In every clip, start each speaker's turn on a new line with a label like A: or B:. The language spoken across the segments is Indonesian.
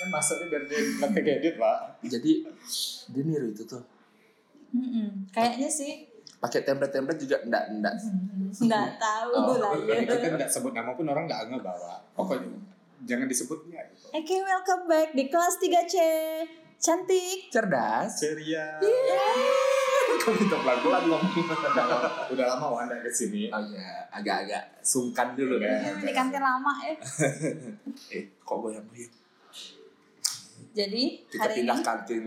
A: kan masuknya biar dia nggak kegedit pak
B: Jadi dia niru itu tuh.
C: Mm-mm. Kayaknya Iya sih
B: Pakai template-template juga enggak enggak.
C: nggak tahu
B: Oh,
C: lah ya.
A: kita gitu, nggak sebut nama pun orang nggak nggak bawa pokoknya jangan disebutnya gitu
C: Oke, welcome back di kelas 3C. Cantik.
B: Cerdas.
A: ceria
C: Yeay.
A: Iya. kok kita pelan-pelan ngomong udah lama Wanda kesini
B: Oh iya, agak-agak sungkan dulu
A: Iya.
B: kan.
C: Ini di kantin lama ya.
B: Eh, kok goyang goyang.
C: Jadi
B: Kita
C: hari
B: pindah kan.
C: ini
B: kantin.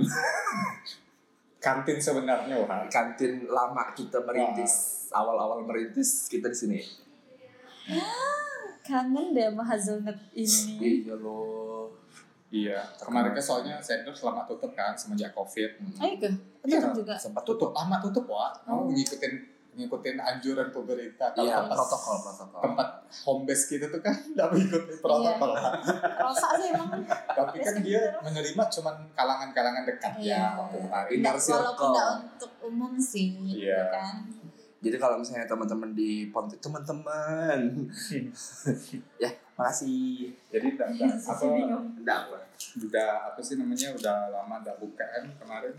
A: kantin sebenarnya Wah
B: Kantin lama kita merintis. Awal-awal merintis kita di sini.
C: kangen deh sama hazelnut ini.
B: Iya loh.
A: iya kemarin kan soalnya sendok selama tutup kan semenjak covid
C: Ayo ke,
A: Iya.
C: tutup juga.
B: Sempat tutup.
A: tutup lama tutup Wak mau
C: Oh.
A: ngikutin ngikutin anjuran pemerintah kalau
B: Iya,
A: tempat
B: protokol protokol.
A: tempat home base gitu tuh kan nggak mengikuti protokol
C: Iya. Rosak sih emang.
A: tapi kan dia menerima cuman kalangan-kalangan dekat
C: Iya.
A: ya waktu kemarin
B: Inner
C: Nggak- walaupun
B: circle.
C: nggak untuk umum sih,
A: Iya.
C: ya kan?
B: Jadi kalau misalnya teman-teman di Pontianak teman-teman. ya, makasih.
A: jadi udah udah apa
C: Iya, Bingung.
B: Enggak apa.
A: udah apa sih namanya udah lama udah bukaan kemarin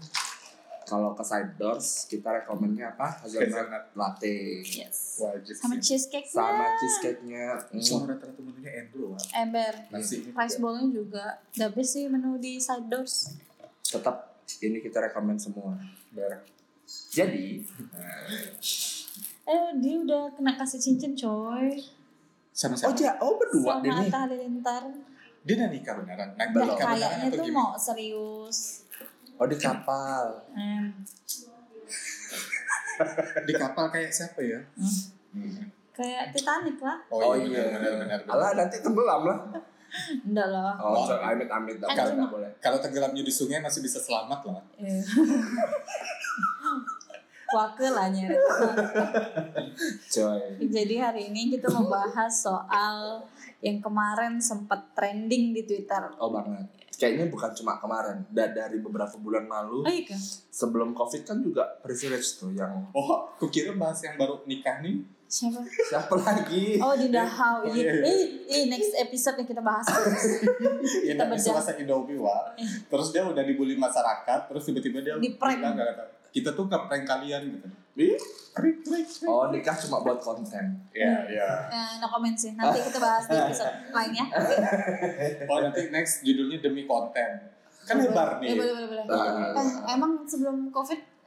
B: Kalau ke side doors kita rekomennya apa? Hazelnut
A: Hazelnut.
B: latte
C: Yes.
A: wajib
C: Sama
A: sih
C: cheesecake
B: sama cheesecake-nya.
A: so
B: Mm.
A: rata-rata menunya endul
B: Iya.
A: Wak ya?
C: Ember.
A: nasi
C: Rice bowl juga. The best sih menu di side doors.
B: Tetap ini kita rekomen semua.
A: bareng
B: Jadi,
C: Eh, dia udah kena kasih cincin coy.
A: sama
B: oh
A: siapa
B: ja, oh berdua
C: Sama
B: ini.
C: Atta Halilintar.
A: dia udah nikah beneran nah,
B: Belum.
A: nikah beneran
C: Kayaknya
A: atau
C: tuh
A: gimana
C: mau serius.
B: Oh di kapal.
C: Hmm.
A: di kapal kayak siapa ya
C: Hmm. Kayak Titanic lah.
A: oh iya benar-benar
B: Alah nanti tenggelam lah.
C: Enggak lah.
B: Oh,
A: Oh.
B: so, amit amit dong.
C: Kan
B: Enggak
C: cuma-
B: boleh.
A: kalau tenggelamnya di sungai masih bisa selamat lah
C: Eh. Wake lah nyeret.
B: Coy.
C: Jadi hari ini kita mau bahas soal yang kemarin sempat trending di Twitter.
B: Oh banget. Kayaknya bukan cuma kemarin. Da dari beberapa bulan lalu
C: Oh iya kah?
B: sebelum covid kan juga privilege tuh yang
A: oh kukira bahas yang baru nikah nih
C: Siapa?
B: siapa lagi?
C: Oh di Dahau.
A: Oh,
C: Ih,
A: iya, iya.
C: ih, ih, next episode yang kita bahas.
A: Iya,
C: Kita
A: tapi
C: bedah.
A: selesai Indomie, Wak. Terus dia udah dibully masyarakat, terus tiba-tiba dia
C: Di prank.
A: bilang, nggak kata, kita tuh nge-prank kalian gitu.
B: Ih.
A: Krik, krik, krik.
B: Oh nikah cuma buat konten.
A: Iya, iya.
C: Eh, no comment sih. Nanti kita bahas di episode lainnya. Oke.
A: Oh, nanti next judulnya demi konten. Kan lebar
C: Ya,
A: nih.
C: boleh, boleh, boleh. Eh,
B: Nah,
C: emang sebelum COVID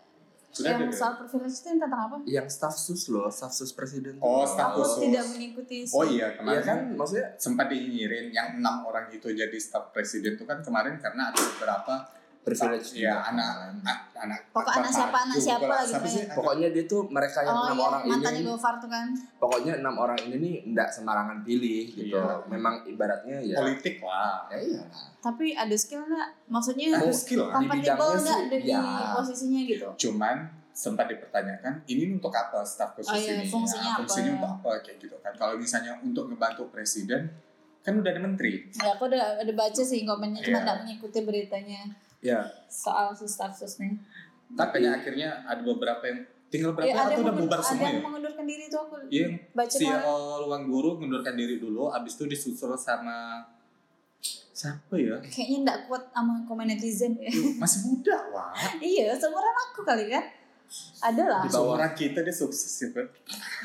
A: Sudah ada.
C: yang soal privilege itu yang tentang apa?
B: yang staff sus loh, staff sus presiden.
A: Oh,
B: tuh.
A: staff
C: Aku
A: khusus.
C: tidak mengikuti.
A: Oh iya,
B: Iya
A: kemarin kan
B: kan maksudnya
A: sempat dinyinyirin yang enam orang itu jadi staf presiden itu kan kemarin karena ada beberapa
B: privilege
A: ya
B: juga.
A: anak anak anak
C: Pokok anak siapa, anak siapa gitu
A: gitu
C: ya.
A: sih Pokok-
B: Pokoknya dia tuh mereka yang
C: Oh
B: enam
C: iya,
B: orang
C: mantannya
B: ini,
C: Gofar tuh kan.
B: pokoknya enam orang ini nih nggak sembarangan pilih gitu.
A: Iya.
B: Memang ibaratnya ya.
A: politik lah
B: Ya iya.
C: Tapi ada skill nggak? Maksudnya
A: Ada skill lah.
B: Di
C: compatible
B: bidangnya
C: nggak
B: sih,
C: dari
B: iya.
C: posisinya gitu?
A: cuman sempat dipertanyakan ini untuk apa staf khusus
C: Oh iya,
A: ini Nah,
C: fungsinya apa
A: fungsinya
C: ya?
A: untuk apa kayak gitu kan kalau misalnya untuk ngebantu presiden kan udah ada menteri
C: Ya, aku udah, udah baca sih komennya, cuma
A: Iya.
C: nggak mengikuti beritanya
A: ya
C: soal si staff sus nih.
A: tapi akhirnya ada beberapa yang tinggal berapa
C: Ya,
A: orang
C: Iya. ada,
A: tuh
C: yang
A: udah
C: mengundur-
A: bubar
C: ada
A: semua
C: yang
A: ya
C: mengundurkan diri tuh aku
A: Iya,
C: baca
A: si
C: kemarin.
A: Ol ruang guru mengundurkan diri dulu abis itu disusul sama siapa ya
C: Kayaknya nggak kuat sama komen netizen ya.
A: masih muda wah
C: iya, seumuran aku kali kan. Ada lah.
A: di bawah orang kita dia sukses ya kan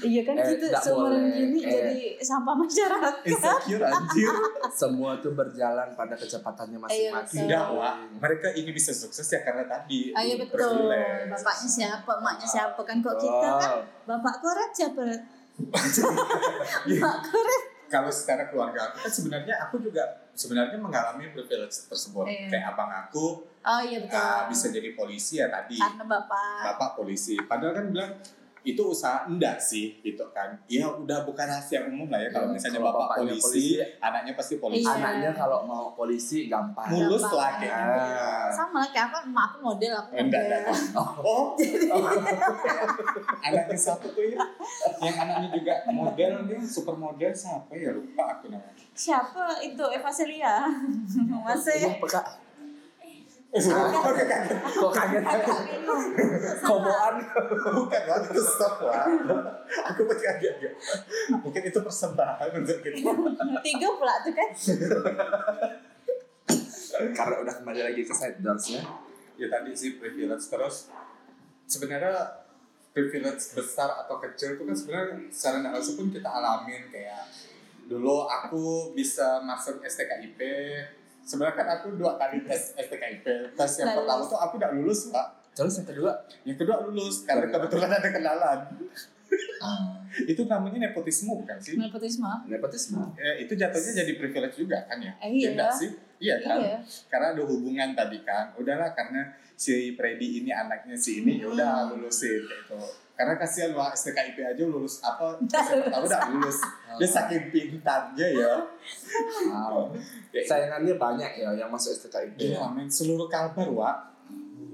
C: Iya kan
B: Eh,
C: kita
B: nggak
C: seumuran
B: boleh.
C: gini
B: Eh.
C: jadi sampah masyarakat.
A: insecure anjir
B: Semua tuh berjalan pada kecepatannya masing-masing.
A: tidak wah mereka ini bisa sukses ya karena tadi
C: Iya. Ah iya betul.
A: privilege.
C: Bapaknya siapa, emaknya
A: Ah,
C: siapa kan kok kita kan bapak koret siapa? Mak koret.
A: Iya. kalau secara keluarga aku kan sebenarnya aku juga sebenarnya mengalami privilege tersebut
C: Iya.
A: kayak abang aku
C: Oh iya betul.
A: ah, bisa jadi polisi ya tadi
C: Karena bapak.
A: bapak polisi padahal kan bilang itu usaha enggak sih gitu kan ya udah bukan rahasia umum lah ya kalau
B: Iya,
A: misalnya
B: kalau
A: bapak
B: bapaknya
A: polisi,
B: polisi,
A: anaknya pasti polisi
C: Iya.
B: Anaknya kalau mau polisi gampang.
C: Mulu.
A: mulus
C: Gampang.
A: lah kayak gitu ya
C: Sama lah kayak aku, emak aku model aku
A: Eh, enggak enggak
C: model.
A: oh, anaknya satu tuh ya yang anaknya juga model dia super model siapa ya lupa aku namanya
C: Siapa itu Eva Celia?
B: Iya,
C: Masih
B: peka.
A: Bukan,
B: Kok
A: Iya.
B: kaget?
C: agak bingung.
B: Koboan.
A: bukan lah, itu stop lah. Aku masih agak-agak. Mungkin itu persembahan untuk kita.
C: Tiga pula tuh kan.
B: karena udah kembali lagi ke side doors-nya.
A: ya tadi sih privilege terus sebenarnya privilege besar atau kecil itu kan sebenarnya secara nggak langsung pun kita alamin kayak dulu aku bisa masuk STKIP sebenarnya kan aku dua kali tes STKIP tes yang
C: Nggak
A: pertama
C: lulus.
A: tuh aku nggak lulus pak
B: Terus yang kedua,
A: yang kedua lulus
C: Iya.
A: karena kebetulan ada kenalan
B: Ah,
A: itu namanya nepotisme kan
C: Hmm.
A: sih
C: nepotisme
B: nepotisme.
A: Eh, itu jatuhnya jadi privilege juga kan ya
C: Eh, iya.
A: nggak sih iya kan
C: iya
A: karena ada hubungan tadi kan udahlah karena si Freddy ini anaknya si ini ya udah lulusin kayak gitu karena kasihan lah STKIP aja lulus apa SMA pertama udah lulus dia saking pintarnya ya
B: Wow. Sayangannya banyak ya yang masuk STKIP.
A: gila men seluruh kalbar wak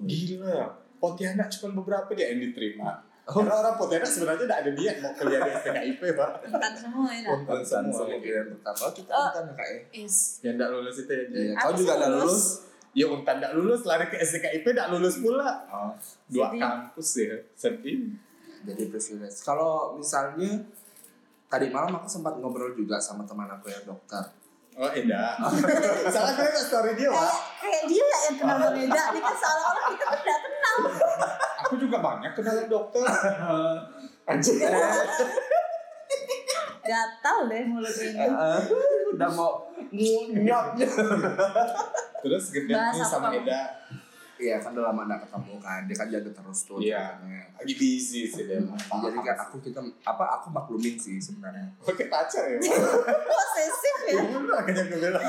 A: gila Pontianak cuma beberapa dia yang diterima
B: Oh,
A: karena orang Pontianak sebenarnya tidak ada niat mau kuliah di STKIP pak
C: rentan semua ya nak?
A: Puntan
B: Konsen
A: semua
B: sama pilihan pertama kita
C: Oh.
B: bukan kayak.
C: is
A: yang tidak lulus itu ya
B: Iya,
C: Aku
B: kau juga
C: sih
B: udah
C: lulus.
B: lulus.
A: ya untan tidak lulus lari ke STKIP tidak lulus pula
B: Oh,
A: dua
C: Sedih.
A: kampus ya sedih
B: jadi privilege. Kalau misalnya tadi malam aku sempat ngobrol juga sama teman aku yang dokter.
A: Oh Eda. Salah gue nggak story dia,
C: kayak
A: Wak.
C: kayak dia lah yang kenal berbeda dia kan seolah-olah kita tuh tidak kenal
A: Aku juga banyak kenal dokter. Anjir.
C: gatal deh mulut ini
B: udah mau ngunyap.
A: Terus gedenya
C: Bahas apa
A: sama
C: kamu?
A: Eda
B: Iya kan udah lama gak ketemu kan, dia kan jaga terus tuh.
A: Iya.
B: katanya.
A: lagi busy sih dia.
B: Jadi kan aku kita apa aku maklumin sih sebenarnya.
A: pakai pacar ya.
C: posesif ya
A: Gimana akhirnya gue bilang.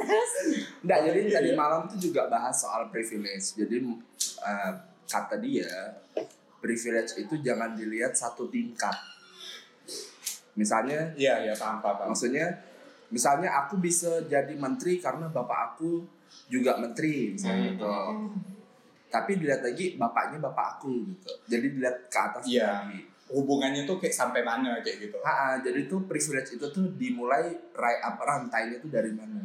C: terus
B: Enggak,
A: Oh,
B: jadi
A: iya,
B: tadi
A: iya.
B: malam tuh juga bahas soal privilege. Jadi eh, kata dia, privilege itu jangan dilihat satu tingkat. Misalnya,
A: Iya iya paham paham. paham.
B: maksudnya, misalnya aku bisa jadi menteri karena bapak aku juga menteri,
A: Hmm.
B: misalnya gitu. Tapi dilihat lagi bapaknya bapak aku gitu. Jadi dilihat ke atas
A: Iya.
B: lagi.
A: Hubungannya tuh kayak sampai mana kayak gitu.
B: Ha, jadi tuh privilege itu tuh dimulai rai up rantainya tuh dari mana?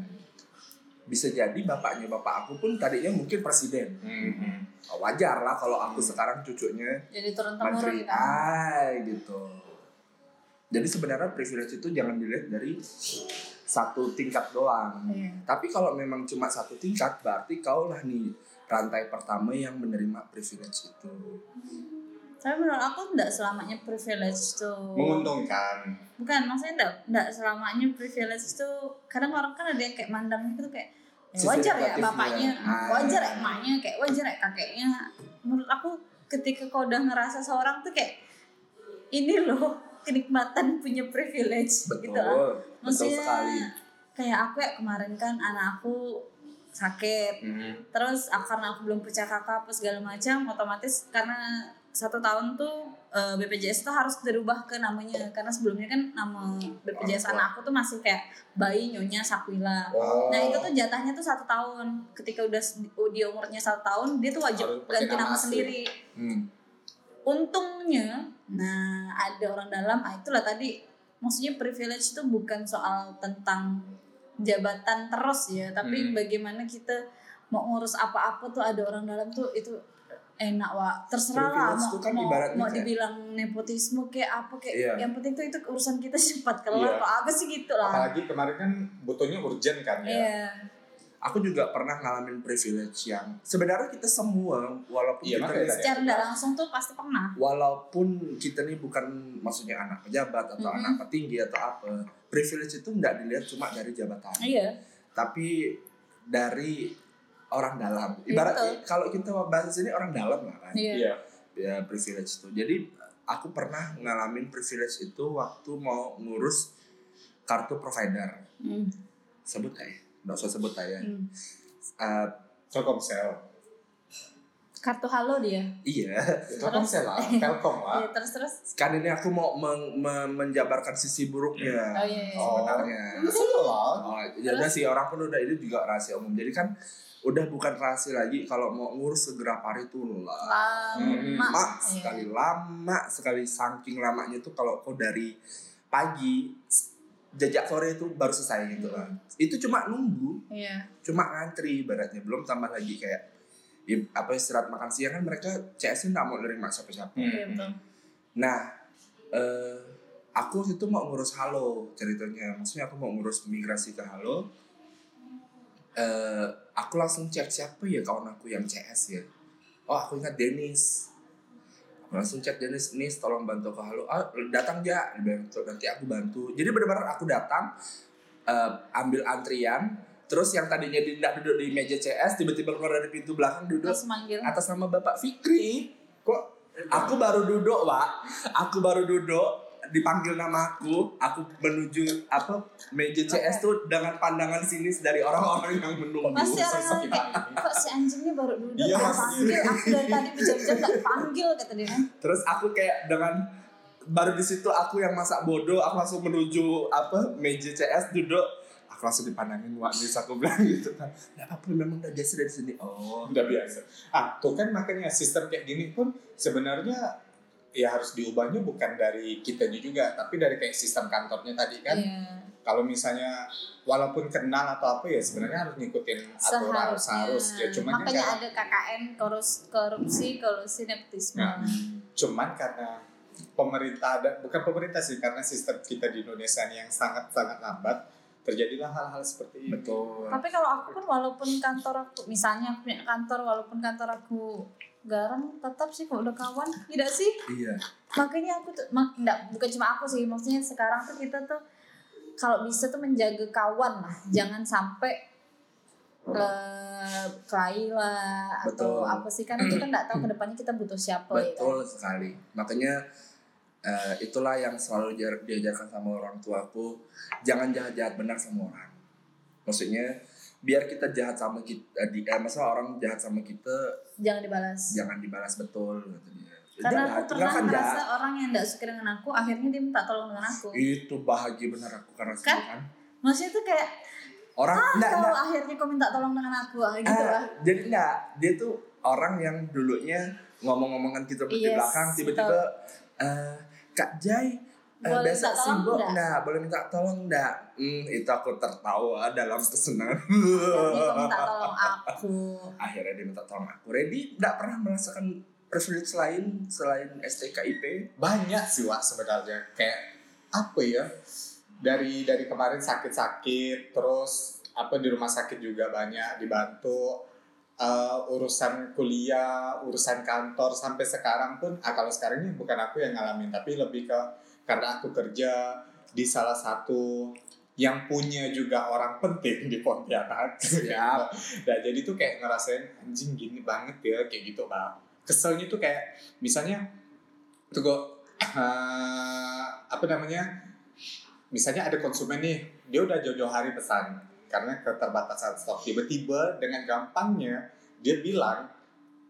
B: Bisa jadi bapaknya bapak aku pun tadinya mungkin presiden.
A: Hmm.
B: wajar lah kalau aku sekarang cucunya
C: jadi turun temurun
B: menteri
C: gitu
B: ah gitu jadi sebenarnya privilege itu jangan dilihat dari satu tingkat doang
C: Iya.
B: tapi kalau memang cuma satu tingkat berarti kau lah nih rantai pertama yang menerima privilege itu
C: tapi menurut aku tidak selamanya privilege tuh
A: Menguntungkan.
C: bukan maksudnya enggak enggak selamanya privilege itu kadang orang kan ada yang kayak mandangnya gitu kayak ya
B: Sisi
C: wajar ya
B: negatifnya.
C: bapaknya
B: Ah.
C: wajar ya emaknya kayak wajar ya kakeknya menurut aku ketika kau udah ngerasa seorang tuh kayak ini loh kenikmatan punya privilege
B: betul
C: gitu lah
B: betul
C: Maksudnya,
B: sekali
C: kayak aku ya kemarin kan anak aku sakit
A: Hmm.
C: terus ah, karena aku belum pecah kakak apa segala macam otomatis karena satu tahun tuh eh, BPJS tuh harus dirubah ke namanya karena sebelumnya kan nama
B: Orang
C: BPJS
B: tua.
C: anak aku tuh masih kayak bayi nyonya Sakwila
A: Oh.
C: nah itu tuh jatahnya tuh satu tahun ketika udah s- di umurnya satu tahun dia tuh wajib
A: Harus pakai
C: ganti
A: nama
C: nama
A: asli.
C: sendiri
B: Hmm.
C: untungnya nah ada orang dalam ah, itulah tadi maksudnya privilege itu bukan soal tentang jabatan terus ya
A: Hmm.
C: tapi bagaimana kita mau ngurus apa-apa tuh ada orang dalam tuh itu enak wa terserah
B: Privilege
C: lah mau
B: tuh kan
C: mau,
B: ibaratnya
C: mau
B: kayak-
C: dibilang nepotisme kayak apa kayak
B: Iya.
C: yang penting tuh itu urusan kita cepat
A: Iya.
C: kelar kok aku sih gitu lah
A: Apalagi kemarin kan butuhnya urgent kan ya.
C: iya
B: aku juga pernah ngalamin privilege yang sebenarnya kita semua walaupun
A: Iya,
B: kita
A: makanya
B: nih-
C: secara nggak langsung tuh pasti pernah
B: walaupun kita nih bukan maksudnya anak pejabat atau
C: Mhm.
B: anak petinggi atau apa privilege itu nggak dilihat cuma dari jabatan
C: iya
B: tapi dari orang dalam ibarat
C: Betul.
B: kalau kita bahas ini orang dalam lah kan
C: iya
A: Iya.
B: ya privilege itu jadi aku pernah ngalamin privilege itu waktu mau ngurus kartu provider
C: Hmm,
B: sebut nggak ya nggak usah sebut lah ya
C: hmm.
B: Eh,
A: Telkomsel. Ya,
C: kartu halo dia
B: iya
A: Telkomsel lah. Telkom lah.
C: Iya, terus terus
B: kan ini aku mau meng- me- menjabarkan sisi buruknya
C: oh iya,
A: Oh.
C: iya.
B: sebenarnya
A: Sebelah.
B: Oh, ya udah sih orang pun udah ini juga rahasia umum. Jadi kan udah bukan rahasia lagi kalau mau ngurus segera pari itu lama
A: Hmm.
C: lama Ah, Iya.
B: sekali lama sekali saking lamanya tuh kalau kau dari pagi jejak sore itu baru selesai gitu
C: Hmm.
B: kan. Itu cuma nunggu,
C: iya
B: cuma ngantri ibaratnya belum tambah lagi kayak ya, apa istirahat makan siang kan mereka CS nya nggak mau nerima siapa-siapa.
A: Hmm.
C: iya betul
B: Nah, eh, aku waktu itu mau ngurus Halo ceritanya. Maksudnya aku mau ngurus migrasi ke Halo. eh, aku langsung chat siapa ya kawan aku yang CS ya oh aku ingat Dennis aku langsung chat Dennis nih tolong bantu ke halo ah, datang ya Dia bilang, "Tuh, nanti aku bantu jadi benar-benar aku datang eh, ambil antrian terus yang tadinya tidak duduk di meja CS tiba-tiba keluar dari pintu belakang duduk
C: terus manggil
B: atas nama Bapak Fikri. Kok aku baru duduk, Pak. Aku baru duduk dipanggil nama aku, aku menuju apa meja CS tuh dengan pandangan sinis dari orang-orang yang menunggu.
C: Pasti orang
D: Sosok kita ini.
C: kok si anjingnya baru duduk
A: Iya,
C: nggak
A: Mas.
C: panggil aku dari tadi berjam-jam nggak panggil kata dia kan
B: Terus aku kayak dengan baru di situ aku yang masak bodoh, aku langsung menuju apa meja CS duduk. Aku langsung dipandangin Wak Nis, aku bilang gitu kan. Enggak apa-apa memang udah biasa dari sini. Oh.
A: udah biasa. Ah, tuh kan makanya sistem kayak gini pun sebenarnya ya harus diubahnya bukan dari kitanya juga, tapi dari kayak sistem kantornya tadi kan.
C: iya
A: Kalau misalnya walaupun kenal atau apa ya sebenarnya harus ngikutin aturan harus
C: seharusnya
A: harus ya cuman kan
C: makanya
A: karena-
C: ada KKN korupsi korupsi korupsi nepotisme
A: Nah, cuman karena pemerintah ada bukan pemerintah sih karena sistem kita di Indonesia ini yang sangat sangat lambat terjadilah hal-hal seperti ini.
B: Betul.
C: tapi kalau aku pun walaupun kantor aku misalnya aku punya kantor walaupun kantor aku garam tetap sih kok udah kawan tidak sih
B: Iya.
C: makanya aku tuh mak, nggak- bukan cuma aku sih maksudnya sekarang tuh kita tuh kalau bisa tuh menjaga kawan lah jangan sampai eh kelahi lah
B: Betul.
C: atau apa sih karena kita nggak tahu kedepannya kita butuh siapa ya kan?
B: Betul sekali. Makanya eh, itulah yang selalu diajar- diajarkan sama orang tuaku, jangan jahat-jahat benar sama orang. Maksudnya biar kita jahat sama kita, eh, di, eh, masalah orang jahat sama kita
C: ya jangan dibalas
B: jangan dibalas betul gitu dia.
C: karena aku
B: Jangan,
C: pernah
B: jangan
C: merasa
B: jahat.
C: orang yang nggak suka dengan aku akhirnya dia minta tolong dengan aku
B: Itu bahagia benar aku karena
C: Kan? Ah,
B: kan?
C: maksudnya tuh kayak
B: Orang enggak,
C: kalau
B: enggak.
C: akhirnya kau minta tolong dengan aku ah, gitu
B: Ah,
C: lah
B: jadi enggak, dia tuh orang yang dulunya ngomong-ngomongan kita di
C: Yes,
B: belakang tiba-tiba eh, Kak Jai Eh,
C: Boleh
B: besok
C: minta tolong
B: sibuk
C: nggak?
B: nggak? Boleh minta tolong nggak? Hmm, itu aku tertawa dalam kesenangan.
C: akhirnya kau minta tolong aku
B: Akhirnya dia minta tolong aku. Reddy nggak pernah merasakan privilege lain selain STKIP.
A: Banyak sih Wak sebenarnya kayak apa ya dari dari kemarin sakit-sakit terus apa di rumah sakit juga banyak dibantu eh, urusan kuliah urusan kantor sampai sekarang pun ah, kalau sekarang ini bukan aku yang ngalamin tapi lebih ke karena aku kerja di salah satu yang punya juga orang penting di Pontianak
B: Siap.
A: Nah, jadi tuh kayak ngerasain anjing gini banget ya kayak gitu bang. Keselnya tuh kayak misalnya tuh kok eh, apa namanya? Misalnya ada konsumen nih, dia udah jauh-jauh hari pesan karena keterbatasan stok. Tiba-tiba dengan gampangnya dia bilang,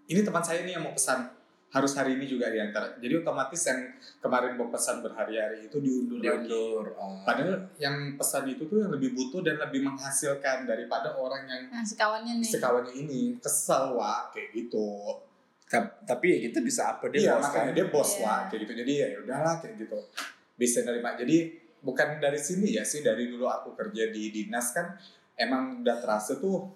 A: ini teman saya nih yang mau pesan harus hari ini juga diantar. Jadi otomatis yang kemarin mau pesan berhari-hari itu diundur, lagi.
B: Diundur. oh.
A: Padahal yang pesan itu tuh yang lebih butuh dan lebih menghasilkan daripada orang yang
C: nah si kawannya nih
A: sekawannya ini kesel wa kayak gitu
B: Ta- tapi ya kita bisa apa dia
A: iya
B: bos
A: makanya
B: kan?
A: dia bos
C: Iya.
A: wa kayak gitu jadi ya udahlah kayak gitu bisa nerima jadi bukan dari sini ya sih dari dulu aku kerja di dinas kan emang udah terasa tuh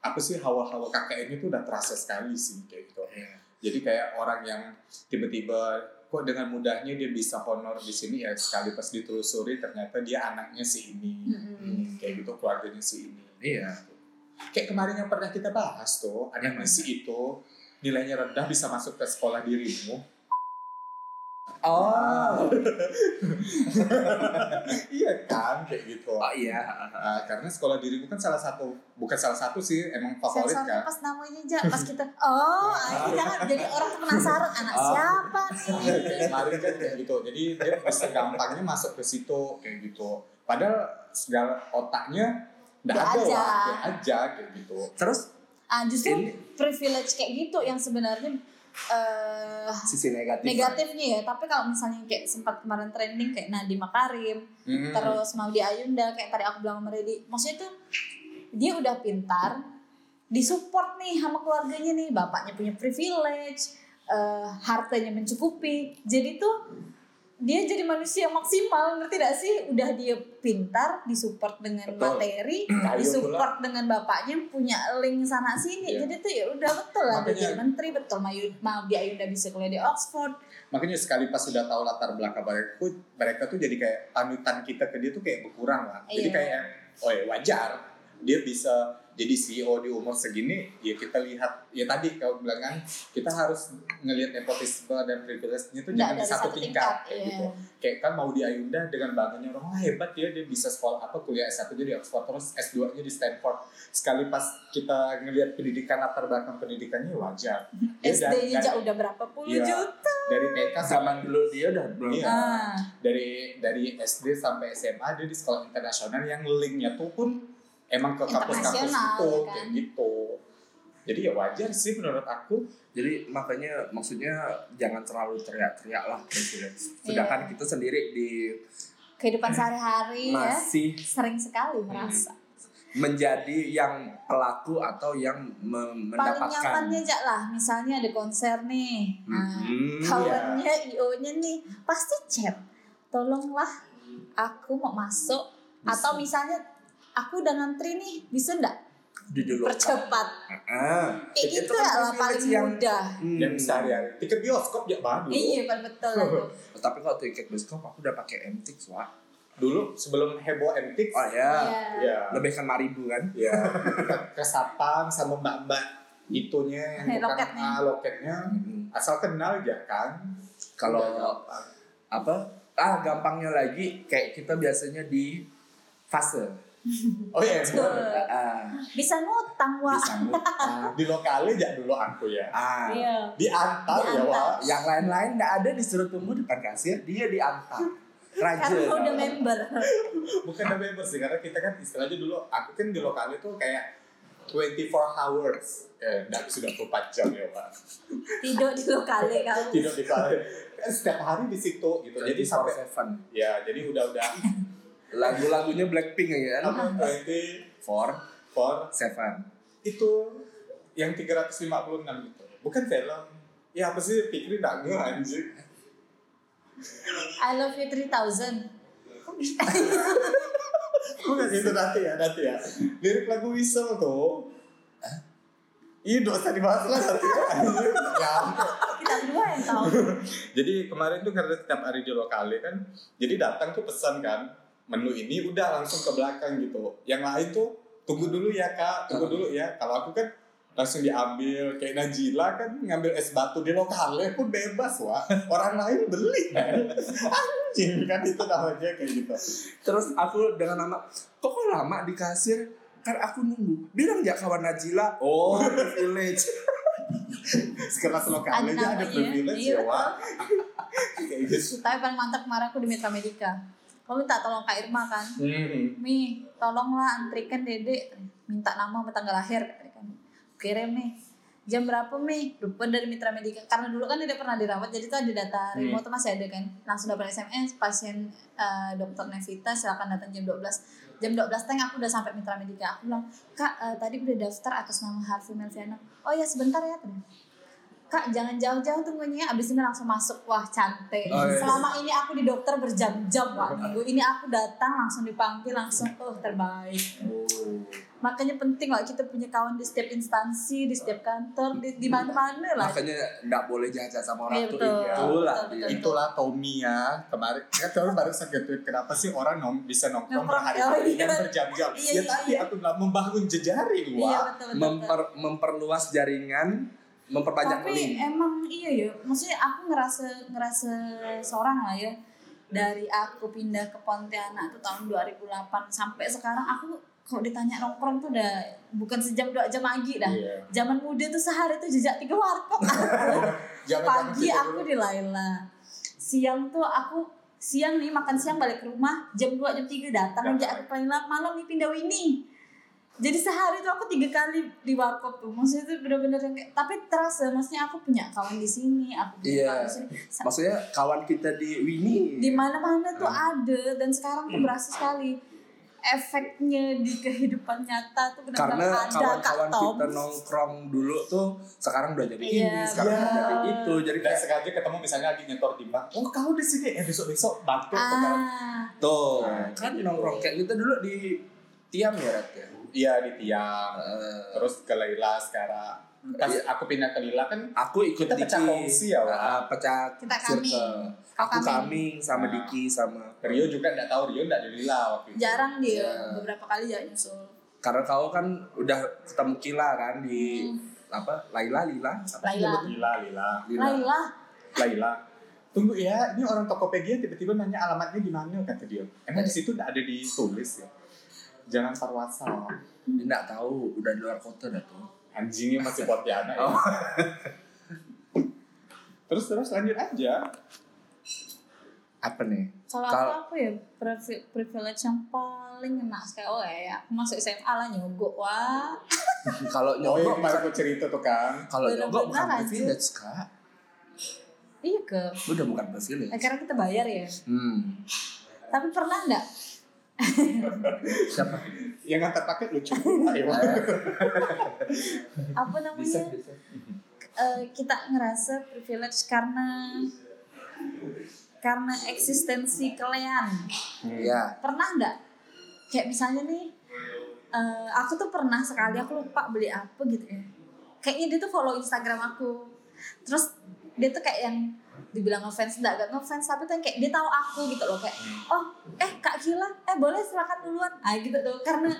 A: apa sih hawa-hawa KKN itu udah terasa sekali sih kayak gitu
B: Iya.
A: jadi kayak orang yang tiba-tiba kok dengan mudahnya dia bisa honor di sini ya sekali pas ditelusuri ternyata dia anaknya si ini
C: Mm-mm.
A: kayak gitu keluarganya si ini
B: Iya.
A: kayak kemarin yang pernah kita bahas tuh ada
B: Yang
A: Messi itu nilainya rendah bisa masuk ke sekolah dirimu
B: Oh.
A: iya kan kayak gitu
B: Oh iya.
A: Nah, karena sekolah dirimu kan salah satu bukan salah satu sih emang favorit
C: sensornya
A: kan
C: pas namanya aja pas kita oh akhirnya jangan jadi orang tuh penasaran anak
B: Ah.
C: siapa nih
A: Kayak kemarin kan kayak gitu jadi dia bisa gampangnya masuk ke situ kayak gitu padahal segala otaknya nggak
C: Nggak
A: ada
C: ada.
A: lah kayak aja kayak gitu
B: Terus
C: ah justru
B: Ini-
C: privilege kayak gitu yang sebenarnya eh
B: sisi negatif.
C: negatifnya ya tapi kalau misalnya kayak sempat kemarin trending kayak Nadiem Makarim
A: Hmm.
C: terus mau di Ayunda kayak tadi aku bilang sama Reddy maksudnya tuh dia udah pintar disupport nih sama keluarganya nih bapaknya punya privilege eh, hartanya mencukupi jadi tuh dia jadi manusia yang maksimal ngerti gak sih udah dia pintar disupport dengan
A: Betul. gitu
C: materi
A: Kayu
C: disupport dengan bapaknya punya link sana sini
A: Iya.
C: jadi tuh ya udah betul lah dia
A: Makanya-
C: jadi menteri betul mau mau dia udah bisa kuliah di Oxford
A: makanya sekali pas sudah tahu latar belakang mereka tuh- mereka tuh jadi kayak panutan kita ke dia tuh kayak berkurang lah jadi
C: Iya.
A: kayak oh ya wajar dia bisa jadi CEO di umur segini ya kita lihat ya tadi kau bilang kan kita harus ngelihat nepotisme dan privilege-nya itu
C: Nggak
A: jangan
C: dari
A: satu,
C: satu
A: tingkat,
C: tingkat,
A: kayak
C: iya.
A: gitu kayak kan mau di Ayunda dengan bangganya orang wah hebat ya, dia dia bisa sekolah apa kuliah S1 nya di Oxford terus S2 nya di Stanford sekali pas kita ngelihat pendidikan latar belakang pendidikannya wajar Dia dari-
C: SD-nya
A: dari-
C: udah berapa puluh
A: Iya.
C: juta.
A: dari TK
B: zaman
A: sama
B: dulu dia udah belum
A: Iya.
C: Ah,
A: dari dari SD sampai SMA dia di sekolah internasional yang linknya tuh pun emang ke kampus-kampus
C: Internasional,
A: itu
C: ya kan?
A: kayak gitu jadi ya wajar sih menurut aku
B: jadi makanya maksudnya jangan terlalu teriak-teriak lah privilege sedangkan
C: Iya.
B: kita sendiri di
C: kehidupan
B: Hmm.
C: sehari-hari ya
B: masih
C: sering sekali
B: Hmm.
C: merasa.
B: menjadi yang pelaku atau yang mem-
C: Paling
B: mendapatkan
C: nyamannya aja lah, misalnya ada konser nih. Nah,
B: Hmm,
C: kawannya IO-nya nih pasti chat. Tolonglah aku mau masuk atau misalnya aku udah ngantri nih, bisa enggak
B: dijulukan.
C: percepat?
B: Ah,
C: Kayak
B: itu
C: gitu
B: kan
C: lah
B: privilege
C: paling
B: yang-
C: mudah.
B: Hmm.
A: dan sehari-hari tiket bioskop ya bagus
C: Iya, paling betul lah itu.
B: Tapi kalau tiket bioskop aku udah pakai MTX, Wak.
A: dulu sebelum heboh antik
B: Oh ya.
C: Iya.
A: ya
B: Lebih kan maribu kan?
A: ya ke satpam sama mbak-mbak itunya yang
C: Eh,
A: tukang-
C: loketnya.
A: ah, loketnya
B: Hmm.
A: asal kenal ya kan
B: Kalau
A: Udah gampang.
B: apa? Ah, gampangnya lagi kayak kita biasanya di fase.
A: oh iya
C: Betul.
A: bener.
B: Ah,
C: Bisa ngutang, Wak.
B: bisa ngutang.
A: di lokalnya ya dulu aku ya
B: Ah,
C: Iya.
A: diantar ya
C: Diantar.
A: wah
B: yang lain-lain nggak ada disuruh tunggu depan kasir, dia diantar.
C: Karena
B: Rajin.
C: udah member.
A: bukan namanya sih karena kita kan istilahnya dulu aku kan di lokal itu kayak 24 hours eh enggak, sudah 24 jam ya pak
C: Tidur di lokale kamu.
A: tidur di sana Kan setiap hari di situ gitu jadi sampai
B: seven.
A: ya jadi udah udah
B: Lagu-lagunya Blackpink ya kan?
A: apa 24
B: Four, seven.
A: itu yang 356 itu gitu. bukan film ya apa sih Fikri nggak ngeh anjing
C: I love you 3000.
A: bukan itu nanti ya nanti ya lirik lagu Whistle tuh Iya dosa dibahas lah nanti ya anjing Nyampe.
C: Kita berdua yang tahu.
A: Jadi kemarin tuh karena setiap hari di lokale kan, jadi datang tuh pesan kan, menu ini udah langsung ke belakang gitu. Yang lain tuh tunggu dulu ya kak, tunggu dulu ya. Kalau aku kan langsung diambil kayak Najila kan ngambil es batu di lokale pun bebas wah orang lain beli kan anjing kan itu namanya kayak gitu
B: Terus aku dengan nama, kok kok lama di kasir? Kan aku nunggu. Bilang ya kawan Najila. Oh, privilege.
A: sekelas
C: Ada
A: lokale aja ada
C: namanya,
A: privilege
C: iya.
A: ya wah kayak gitu
C: Tapi paling mantap kemarin aku di Mitra Medica. Kamu minta tolong Kak Irma kan?
A: hmm.
C: Mi, tolonglah antrikan Dede. Minta nama sama tanggal lahir. kan. kata kami. Kirim nih. Jam berapa Mi? Lupa dari Mitra Medica. Karena dulu kan tidak pernah dirawat, jadi tuh ada data
B: Iya.
A: Hmm.
C: remote tuh masih ada kan. Langsung dapat SMS, pasien eh, dokter Nevita silakan datang jam 12. Jam 12 teng aku udah sampai Mitra Medica. Aku bilang, Kak eh, tadi udah daftar atas nama Harvey Melviana. Oh ya sebentar ya. katanya. Kak jangan jauh-jauh tunggunya abis ini langsung masuk wah cantik
B: Oh, iya.
C: selama ini aku di dokter berjam-jam wah minggu ini aku datang langsung dipanggil langsung oh terbaik Oh. makanya penting lah kita punya kawan di setiap instansi di setiap kantor di, di mana-mana lah
B: Makanya nggak boleh jahat sama orang
C: Iya,
B: tuh.
C: betul.
B: Itulah
C: Betul,
B: dia.
C: betul.
A: itulah Tommy ya kemarin kan Tommy baru sakit kenapa sih orang nong bisa nongkrong
C: Nongkrong,
A: berhari-hari
C: iya.
A: dan berjam-jam
C: Iya,
A: ya
C: iya,
A: tadi
C: iya.
A: aku bilang membangun jejari wah
C: iya betul betul, betul.
B: Memper- memperluas jaringan, memperbanyak
C: tapi
B: link.
C: emang iya ya maksudnya aku ngerasa ngerasa seorang lah ya dari aku pindah ke Pontianak tuh tahun 2008 sampai sekarang aku kalau ditanya nongkrong tuh udah bukan sejam dua jam lagi dah
A: Iya.
C: zaman muda tuh sehari tuh jejak tiga warkop
A: Jangan
C: pagi
A: bangun
C: aku di Laila siang tuh aku siang nih makan siang balik ke rumah jam 2 jam 3 datang
B: Iya.
C: aja aku ke Laila malam nih pindah Winnie jadi sehari tuh aku tiga kali di warkop tuh maksudnya itu bener-bener yang kayak- tapi terasa maksudnya aku punya kawan di sini aku punya
B: Iya.
C: kawan di sini Sa-
B: Maksudnya kawan kita di Winnie.
C: di mana-mana tuh
B: Iya.
C: ada dan sekarang
B: Hmm.
C: tuh berasa sekali efeknya di kehidupan nyata tuh
B: karena
C: benar-benar ada
B: kawan-kawan
C: Kak Tom
B: kita nongkrong dulu tuh sekarang udah jadi ini,
C: Iya,
B: sekarang udah
A: betul.
B: jadi itu. Jadi
A: tidak
B: kayak gitu.
A: sengaja ketemu misalnya lagi nyetor di bank oh kau di sini eh besok besok bantu kan
C: ah
B: tuh
A: Nah,
B: kan
A: gitu.
B: nongkrong kayak kita dulu di Tiam ya Rat ya.
A: iya di tiang
B: Eh,
A: terus ke Laila sekarang pas
B: Iya.
A: aku pindah ke Lila kan
B: aku ikut
A: Kita pecah
B: Diki.
A: kongsi ya, Wak?
B: Ah, pecah
C: Kita
B: circle.
C: kambing.
B: Aku
C: kambing.
B: kambing sama
A: Nah.
B: Diki sama
A: Rio juga nggak tahu Rio nggak di Lila waktu itu
C: jarang dia
B: Iya.
C: beberapa kali ya nyusul
B: karena kau kan udah ketemu Kila kan di
C: Hmm.
B: apa Laila Lila apa sih
C: Laila.
B: nyebutnya?
A: Lila, Lila,
B: Lila
C: Laila,
A: Laila. Tunggu ya, ini orang Tokopedia tiba-tiba nanya alamatnya di mana kata dia. Emang di situ nggak ada ditulis ya? Jangan parwasa.
B: Dia nggak tahu udah di luar kota dah tuh
A: Anjingnya masih Pontianak ya.
B: Oh.
A: Terus terus lanjut aja.
B: apa nih
C: kalau aku
B: Kalau-
C: apa ya privi- privilege yang paling enak sekali oh ya aku masuk SMA lah nyogok wah
B: kalau
A: Oh iya,
B: nyogok
A: kemarin aku cerita tuh kan.
B: kalau
C: Bener-bener
B: nyogok bukan
C: lanjut.
B: privilege kak
C: iya ke
B: udah bukan privilege
C: akhirnya kita bayar ya
B: hmm
C: tapi pernah enggak
B: siapa
A: Yang ngantar paket lucu pula ya. Wak.
C: apa namanya eh, kita ngerasa privilege karena karena eksistensi kalian
B: ya
C: pernah nggak kayak misalnya nih eh, aku tuh pernah sekali aku lupa beli apa gitu ya kayaknya dia tuh follow Instagram aku terus dia tuh kayak yang dibilang ngefans enggak gak ngefans tapi tuh yang kayak dia tahu aku gitu loh kayak oh eh kak Gila eh boleh silakan duluan ah gitu tuh karena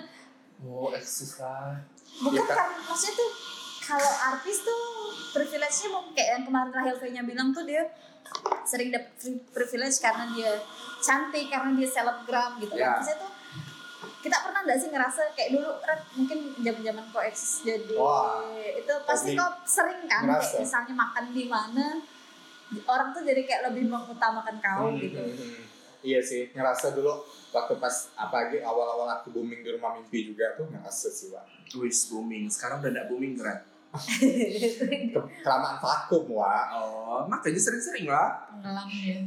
B: oh eksis lah
C: bukan
A: Iya, Kak.
C: karena maksudnya tuh kalau artis tuh privilege-nya mau kayak yang kemarin Rahel kayaknya bilang tuh dia sering dapat pri- privilege karena dia cantik karena dia selebgram gitu
A: Iya.
B: Ya.
C: kan maksudnya tuh kita pernah nggak sih ngerasa kayak dulu Red, mungkin zaman zaman koeksis jadi
A: Wah,
C: itu pasti
A: pasti
C: kok sering kan
A: ngerasa.
C: kayak misalnya makan di mana orang tuh jadi kayak lebih mengutamakan kau
A: Hmm.
C: gitu
A: Iya sih, ngerasa dulu waktu pas apalagi awal-awal aku booming di rumah mimpi juga tuh ngerasa sih Wak.
B: twist booming sekarang udah nggak booming kan
A: Ke- Kelamaan vakum Wak.
B: oh makanya sering-sering lah
C: pengalaman ya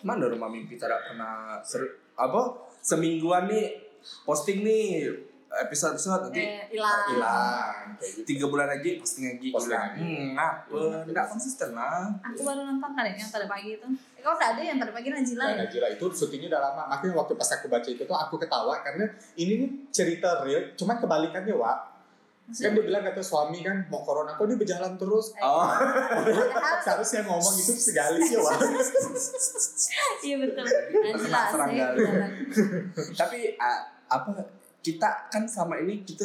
B: mana rumah mimpi tidak pernah ser apa semingguan nih posting nih episode episode nanti
C: eh, hilang
A: Hilang kayak gitu.
B: tiga bulan lagi posting lagi
A: Posting
B: hilang.
A: lagi.
B: hmm, apa nggak konsisten lah
C: Aku baru nonton kali yang tadi pagi itu. Eh, kok nggak ada yang tadi pagi Najila
A: Nah,
C: ya?
A: Najila itu syutingnya udah lama. Makanya waktu pas aku baca itu tuh aku ketawa karena ini nih cerita real, cuman kebalikannya, Wak. Kan dia bilang kata suami kan mau corona, kok dia berjalan terus.
B: oh
C: Padahal-
A: Seharusnya ngomong itu sekali sih, Wak.
C: Iya betul. Najila
B: Kena serang
C: asik.
B: kali. tapi ah, apa kita kan sama ini kita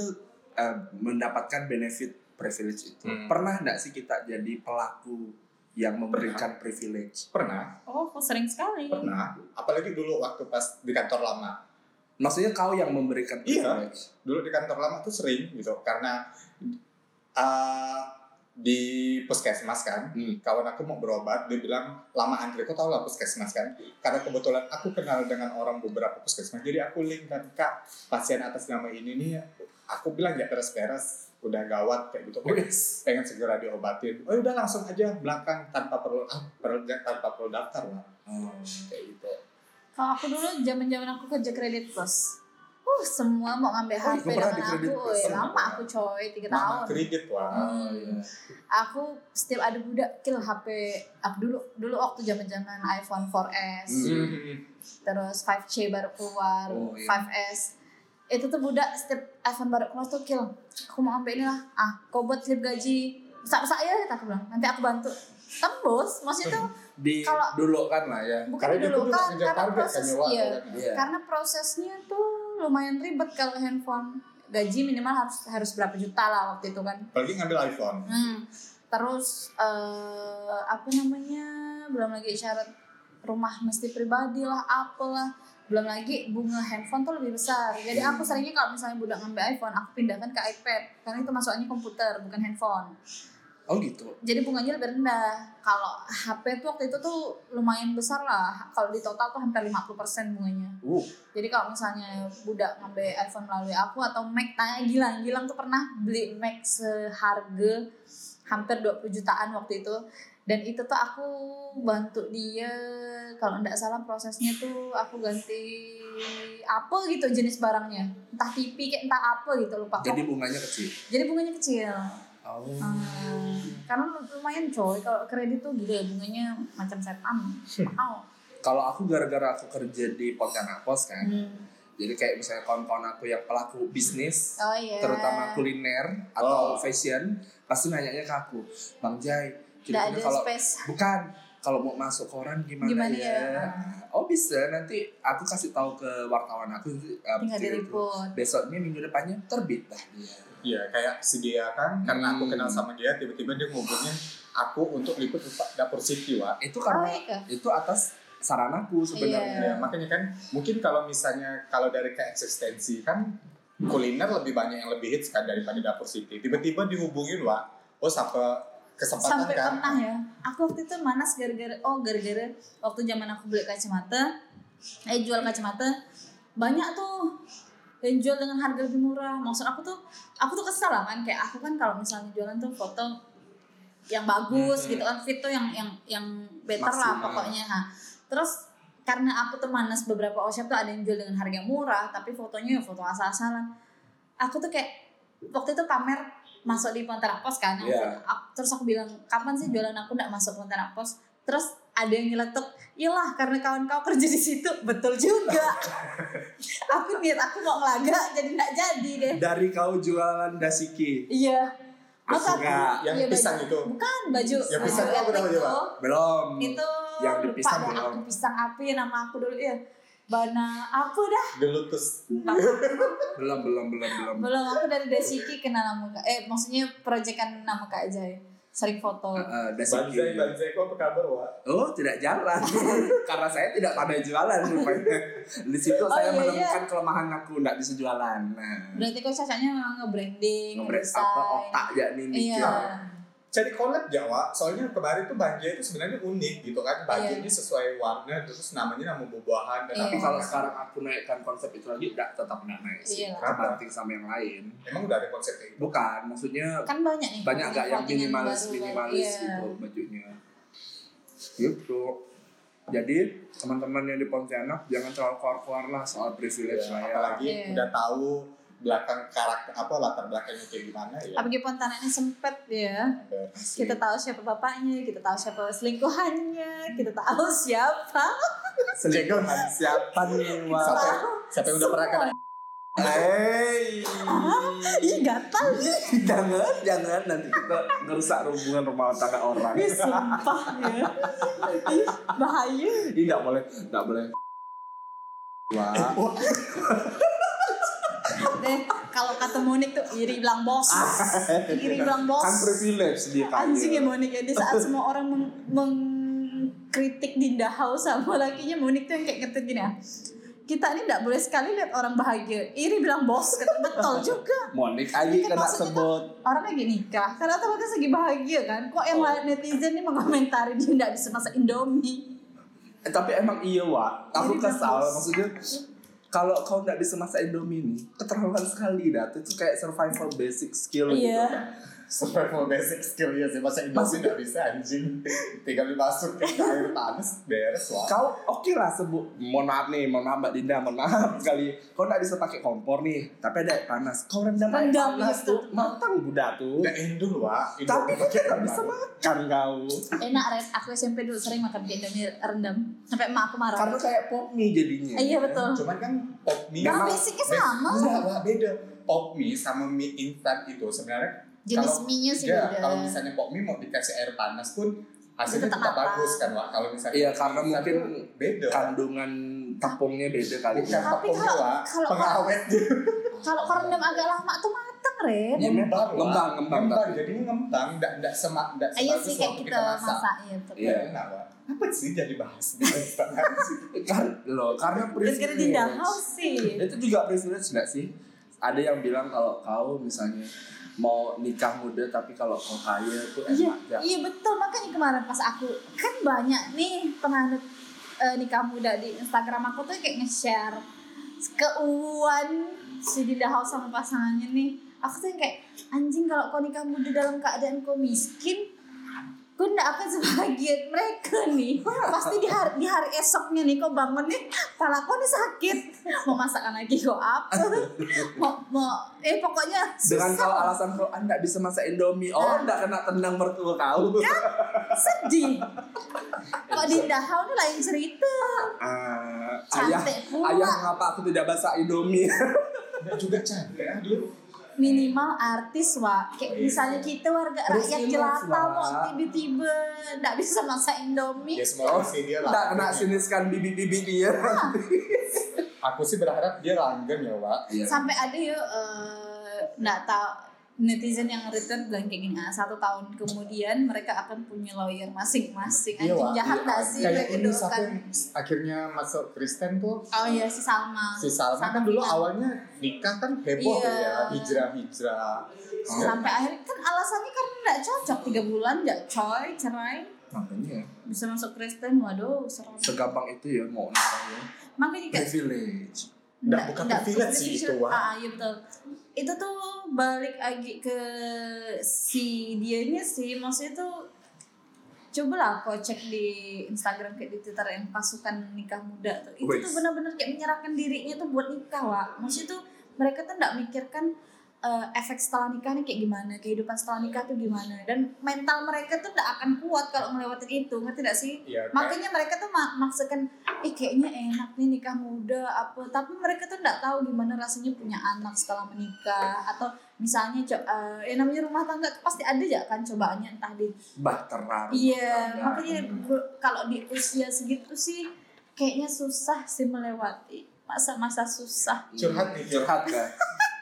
B: eh, mendapatkan benefit privilege itu
A: Hmm.
B: pernah nggak sih kita jadi pelaku yang memberikan privilege
A: Pernah,
C: Oh, kok sering sekali.
A: pernah. Apalagi dulu waktu pas di kantor lama.
B: maksudnya kau yang memberikan
A: Iya.
B: privilege
A: dulu di kantor lama tuh sering gitu karena uh, di puskesmas kan
B: Hmm.
A: kawan aku mau berobat dia bilang lama antri kok tau lah puskesmas kan karena kebetulan aku kenal dengan orang beberapa puskesmas jadi aku link kan kak pasien atas nama ini nih aku bilang ya beres-beres udah gawat kayak gitu
B: Oh,
A: pengen, pengen segera diobatin oh udah langsung aja belakang tanpa perlu ah, perlu tanpa perlu daftar lah
B: Oh.
A: kayak gitu
C: Kalau aku dulu zaman-zaman aku kerja kredit plus. Uh, semua mau ngambil
B: Oh,
C: HP
B: gue pernah
C: dengan
B: di Kredit
C: aku.
B: Plus.
C: Eh, lama aku coy, 3
A: Mama
C: tahun.
A: kredit wah
B: Oh, iya.
C: Aku setiap ada budak kill HP. Aku dulu dulu waktu zaman-zaman iPhone 4S.
B: Hmm.
C: terus 5C baru keluar,
B: Oh, iya.
C: 5S. Itu tuh budak setiap iPhone baru keluar tuh kill. Aku mau ambil ini lah. Ah, kau buat slip gaji. Sak-sak ya, kata aku bilang. Nanti aku bantu. Tembus, maksudnya tuh
B: di
C: Kalau-
B: dulu kan lah ya
C: bukan
A: karena dia tuh
C: dulu
A: juga
C: kan,
A: ngejar
C: karena
A: target kan
C: proses
A: nyawa
C: iya.
B: Iya.
C: Karena prosesnya tuh lumayan ribet kalau handphone gaji minimal harus harus berapa juta lah waktu itu kan.
A: apalagi ngambil iPhone
C: Hmm. Terus eh, apa namanya? Belum lagi syarat rumah mesti pribadi lah, apalah. Belum lagi bunga handphone tuh lebih besar. Jadi aku seringnya kalau misalnya budak ngambil iPhone, aku pindahkan ke iPad karena itu masukannya komputer bukan handphone.
B: oh gitu
C: Jadi bunganya lebih rendah. Kalau HP tuh waktu itu tuh lumayan besar lah. Kalau di total tuh hampir 50% bunganya.
B: uh
C: Jadi kalau misalnya budak ngambil iPhone melalui aku atau Mac tanya Gilang, Gilang tuh pernah beli Mac seharga hampir 20 jutaan waktu itu dan itu tuh aku bantu dia kalau nggak salah prosesnya tuh aku ganti apa gitu jenis barangnya entah TV kayak entah apa gitu lupa
B: jadi bunganya kecil
C: jadi bunganya kecil
B: oh
C: Hmm, karena lumayan coy kalau kredit tuh gila ya, bunganya macam setan
B: Hmm.
C: mahal
B: kalau aku gara-gara aku kerja di Pontianak Pos kan
C: Hmm.
B: jadi kayak misalnya kawan-kawan aku yang pelaku bisnis
C: oh iya
B: terutama kuliner atau
A: Oh.
B: fashion pasti nanyanya ke aku bang Jai kira-kira
C: Nggak ada
B: kalau
C: space
B: bukan kalau mau masuk koran gimana,
C: Gimana
B: ya?
C: ya?
B: Oh bisa nanti aku kasih tahu ke wartawan aku nanti, uh,
C: tinggal Oh,
B: cerita.
C: diliput
B: Besoknya minggu depannya terbit lah dia.
A: Iya, kayak si Gia kan, karena aku
B: Hmm.
A: kenal sama dia, tiba-tiba dia ngubungin aku untuk liput Rupa- dapur City, Wak.
B: Itu
C: oh
B: karena
C: iya Kak.
B: itu atas saranaku sebenarnya.
A: Ya,
C: Iya,
A: makanya kan mungkin kalau misalnya kalau dari keeksistensi kan kuliner lebih banyak yang lebih hits kan daripada dapur City. Tiba-tiba dihubungin, Wak. Oh, sampai kesempatan
C: sampai
A: kan.
C: pernah ya aku waktu itu manas gara-gara oh gara-gara waktu zaman aku beli kacamata eh jual kacamata banyak tuh yang jual dengan harga lebih murah maksud aku tuh aku tuh kesel lah kan kayak aku kan kalau misalnya jualan tuh foto yang bagus
B: Hmm.
C: gitu kan fit tuh yang yang yang better lah
B: Maksimal.
C: pokoknya ha. terus karena aku tuh manas beberapa outshop tuh ada yang jual dengan harga murah tapi fotonya ya foto asal-asalan aku tuh kayak waktu itu pamer masuk di Pontianak Pos kan aku-
B: Iya.
C: aku- terus aku bilang kapan sih jualan aku nggak masuk Pontianak Pos terus ada yang nyeletuk iyalah karena kawan kau kerja di situ betul juga aku niat aku mau ngelaga jadi nggak jadi deh
B: Dari kau jualan dasiki.
C: iya Masa
B: Enggak,
A: Yang
C: Iya,
A: pisang
C: baju-
A: itu.
C: bukan baju
A: Yang pisang
C: baju
A: apa
C: etnik
A: namanya,
C: tuh.
B: belum.
C: itu
B: Yang
C: lupa
B: dipisang
C: dah,
B: belum.
C: aku pisang api nama aku dulu ya bana apa dah
A: Gelutus.
B: Belum, belum, belum, belum.
C: belum aku dari Desiki kenal nama kak eh maksudnya proyekan nama kak Ajay sering
B: Eh,
C: foto
B: eh, dasiki.
D: Banzai, Banzai, kok apa kabar, Wak?
B: Oh, tidak jalan. Karena saya tidak pandai jualan rupanya. Di situ
C: Oh,
B: saya
C: iya,
B: menemukan kelemahan aku tidak bisa jualan. Nah,
C: berarti kok cacanya memang nge-branding
B: ngobrol
C: ngedesain.
B: apa otak ya nih mikir.
C: iya
A: Jadi collab ya, Wak. Soalnya kemarin tuh banjir itu sebenarnya unik gitu kan. Bajunya sesuai warna, terus namanya nama buah-buahan. Dan
C: Iya.
B: Tapi
A: nama
B: kalau
A: makanan.
B: sekarang aku naikkan konsep itu lagi, tidak tetap tidak naik sih.
C: Iya.
B: Karena banting sama yang lain.
A: Emang udah ada konsep kayak gitu.
B: Bukan, maksudnya
C: kan banyak nih
B: banyak nggak yang
C: clothing-clothingan
B: minimalis
C: baru-baru.
B: minimalis
C: Iya.
B: gitu bajunya gitu jadi teman-teman yang di Pontianak jangan terlalu keluar-keluar lah soal privilege lah ya
A: Apalagi
C: Iya.
A: udah tahu belakang karakter apa latar belakangnya kayak gimana ya.
C: apalagi pontanannya sempet ya
B: Asik.
C: kita tahu siapa bapaknya kita tahu siapa selingkuhannya kita tahu siapa
A: Selingkuhan siapa nih, Wak? Siapa,
B: ya?
A: siapa yang udah pernah kena
B: Hei,
C: ih gatal ih
B: jangan, jangan nanti kita ngerusak hubungan rumah tangga orang.
C: Ih, sumpah ya Ih, bahaya
B: Ini nggak boleh, nggak boleh. Wah,
C: deh kalau kata Monik tuh iri bilang bos iri bilang bos
B: Ah, kan privilege dia kan.
C: anjing ya Monik ya di saat semua orang meng- mengkritik Dinda House sama lakinya Monik tuh yang kayak ngetik gini ya kita ini nggak boleh sekali lihat orang bahagia iri bilang bos Kata, betul juga
B: Monik aja
C: Kan
B: kena
C: maksudnya
B: sebut.
C: orang lagi nikah karena tuh mereka segi bahagia kan kok yang lain netizen nih mengomentari dia nggak bisa masak indomie
B: Eh, tapi emang iya Wak aku
C: Jadi
B: kesal
C: bagus.
B: maksudnya kalau kau nggak bisa masak indomie nih keterlaluan sekali dah itu kayak survival basic skill gitu
C: iya
A: survival basic skill ya sih masa Indonesia nggak bisa anjing tinggal dimasuk ke air panas beres lah
B: kau oke lah sebut mohon maaf nih mohon maaf mbak Dinda mohon maaf sekali kau nggak bisa pakai kompor nih tapi ada air panas kau rendam air
C: Rendam,
B: panas
C: iya,
B: tuh
C: betul. Iya,
B: matang budak tuh
A: udah endul wah Endul.
B: tapi kau nggak bisa makan kau
C: enak Ren aku SMP dulu sering makan kayak indomie rendam sampai emak aku marah
B: karena kayak pop mie jadinya
C: iya betul
A: cuman kan pop mie
C: karena
B: Memang-
C: basicnya sama
A: Enggak, Wak, beda pop mie sama mie instan itu sebenarnya
C: jenis
A: Kalau-
C: mie nya sih
A: ya
C: beda
A: kalau misalnya pop mie mau dikasih air panas pun hasilnya
C: Tetap
A: tetap
C: matang.
A: bagus kan wah kalau misalnya
B: Iya, karena
A: mie instan
B: mungkin
A: tuh beda
B: kandungan tepungnya beda kali
A: bukan
B: ya
C: Tapi
A: tepungnya
C: kalau-
A: wah
C: kalau-
A: pengawet
C: kalau kau rendam agak lama tuh matang Ren
B: Iya,
A: ngembang Wak.
B: ngembang, ngembang,
A: ngembang
B: tapi.
A: jadinya ngembang nggak nggak semak nggak
C: iya
A: sebagus
C: sih kayak
A: waktu
C: kita masak iya betul
B: Iya.
A: Iya. Kenapa? Apa sih jadi bahas mie instan anjing?
B: kan loh karena
C: gara-gara di
B: Iya.
C: house sih
B: itu juga privilege nggak sih ada yang bilang kalau kau misalnya mau nikah muda tapi kalau kau kaya itu
C: Iya,
B: enak ya
C: iya betul makanya kemarin pas aku kan banyak nih penganut eh, nikah muda di Instagram aku tuh kayak nge-share keuuan si Dinda House sama pasangannya nih. Aku tuh yang kayak anjing kalau kau nikah muda dalam keadaan kau miskin, kau ndak akan sebahagia mereka nih. Pasti di hari, di hari esoknya nih kau bangun nih, pala kau nih sakit. Mau masakan lagi kau apa? mau, mau eh pokoknya
B: dengan
C: susah. Iya.
B: kalau alasan kau anda bisa masak indomie oh anda kena tendang mertua kau
C: sedih kok di Dahau nih lain cerita
B: Ah, ayah
C: cantik pula
B: ayah mengapa aku tidak masak indomie
A: Nggak juga cantik aduh.
C: minimal artis wa kayak
D: Iya.
C: misalnya kita warga
B: Terus
C: rakyat
B: ini,
C: jelata
B: Wak.
C: mau tiba-tiba nggak bisa masak
A: ya
C: indomie
A: semoga
B: Oh,
A: sih dia
B: Nggak
A: lah
B: kena siniskan bibi-bibi dia.
D: Aku sih berharap dia langgeng ya, Pak.
B: Iya.
C: sampai ada ya eh, nggak tahu netizen yang return bilang kayak gini ah satu tahun kemudian mereka akan punya lawyer masing-masing
A: Iya,
C: anjing
A: Wak.
C: jahat nggak sih
A: kayak ini
C: mendoakan.
A: satu yang akhirnya masuk Kristen tuh
C: oh iya si Salma
A: si Salma kan dulu awalnya nikah kan heboh tuh
C: Iya.
A: ya hijrah-hijrah
C: sampai akhirnya kan alasannya karena nggak cocok tiga bulan nggak coy cerai
B: Iya, Makanya
C: bisa masuk Kristen waduh serem
B: segampang itu ya mau
C: Iya.
B: nikahnya.
C: makanya kayak
B: Privilege.
A: Nggak, bukan privilege sih itu, Wak.
C: Ah, iya betul. Itu tuh balik lagi ke si dianya sih, maksudnya tuh cobalah kau cek di Instagram kayak di Twitter yang pasukan nikah muda tuh. Itu tuh
B: Wes.
C: benar-benar kayak menyerahkan dirinya tuh buat nikah, Wak. Maksudnya tuh mereka tuh nggak mikirkan eh, efek setelah nikah nih kayak gimana, kehidupan setelah nikah tuh gimana dan mental mereka tuh nggak akan kuat kalau ngelewatin itu, ngerti nggak sih?
D: Iya, kayak-
C: makanya mereka tuh mak maksudkan eh kayaknya enak nih nikah muda apa tapi mereka tuh nggak tahu gimana rasanya punya anak setelah menikah atau misalnya co- eh, yang namanya rumah tangga tuh pasti ada ya kan cobaannya entah di
B: Bahtera.
C: iya
B: Tangga.
C: makanya gua- kalau di usia segitu sih kayaknya susah sih melewati masa-masa susah
D: Curhat nih, curhat.
B: kan.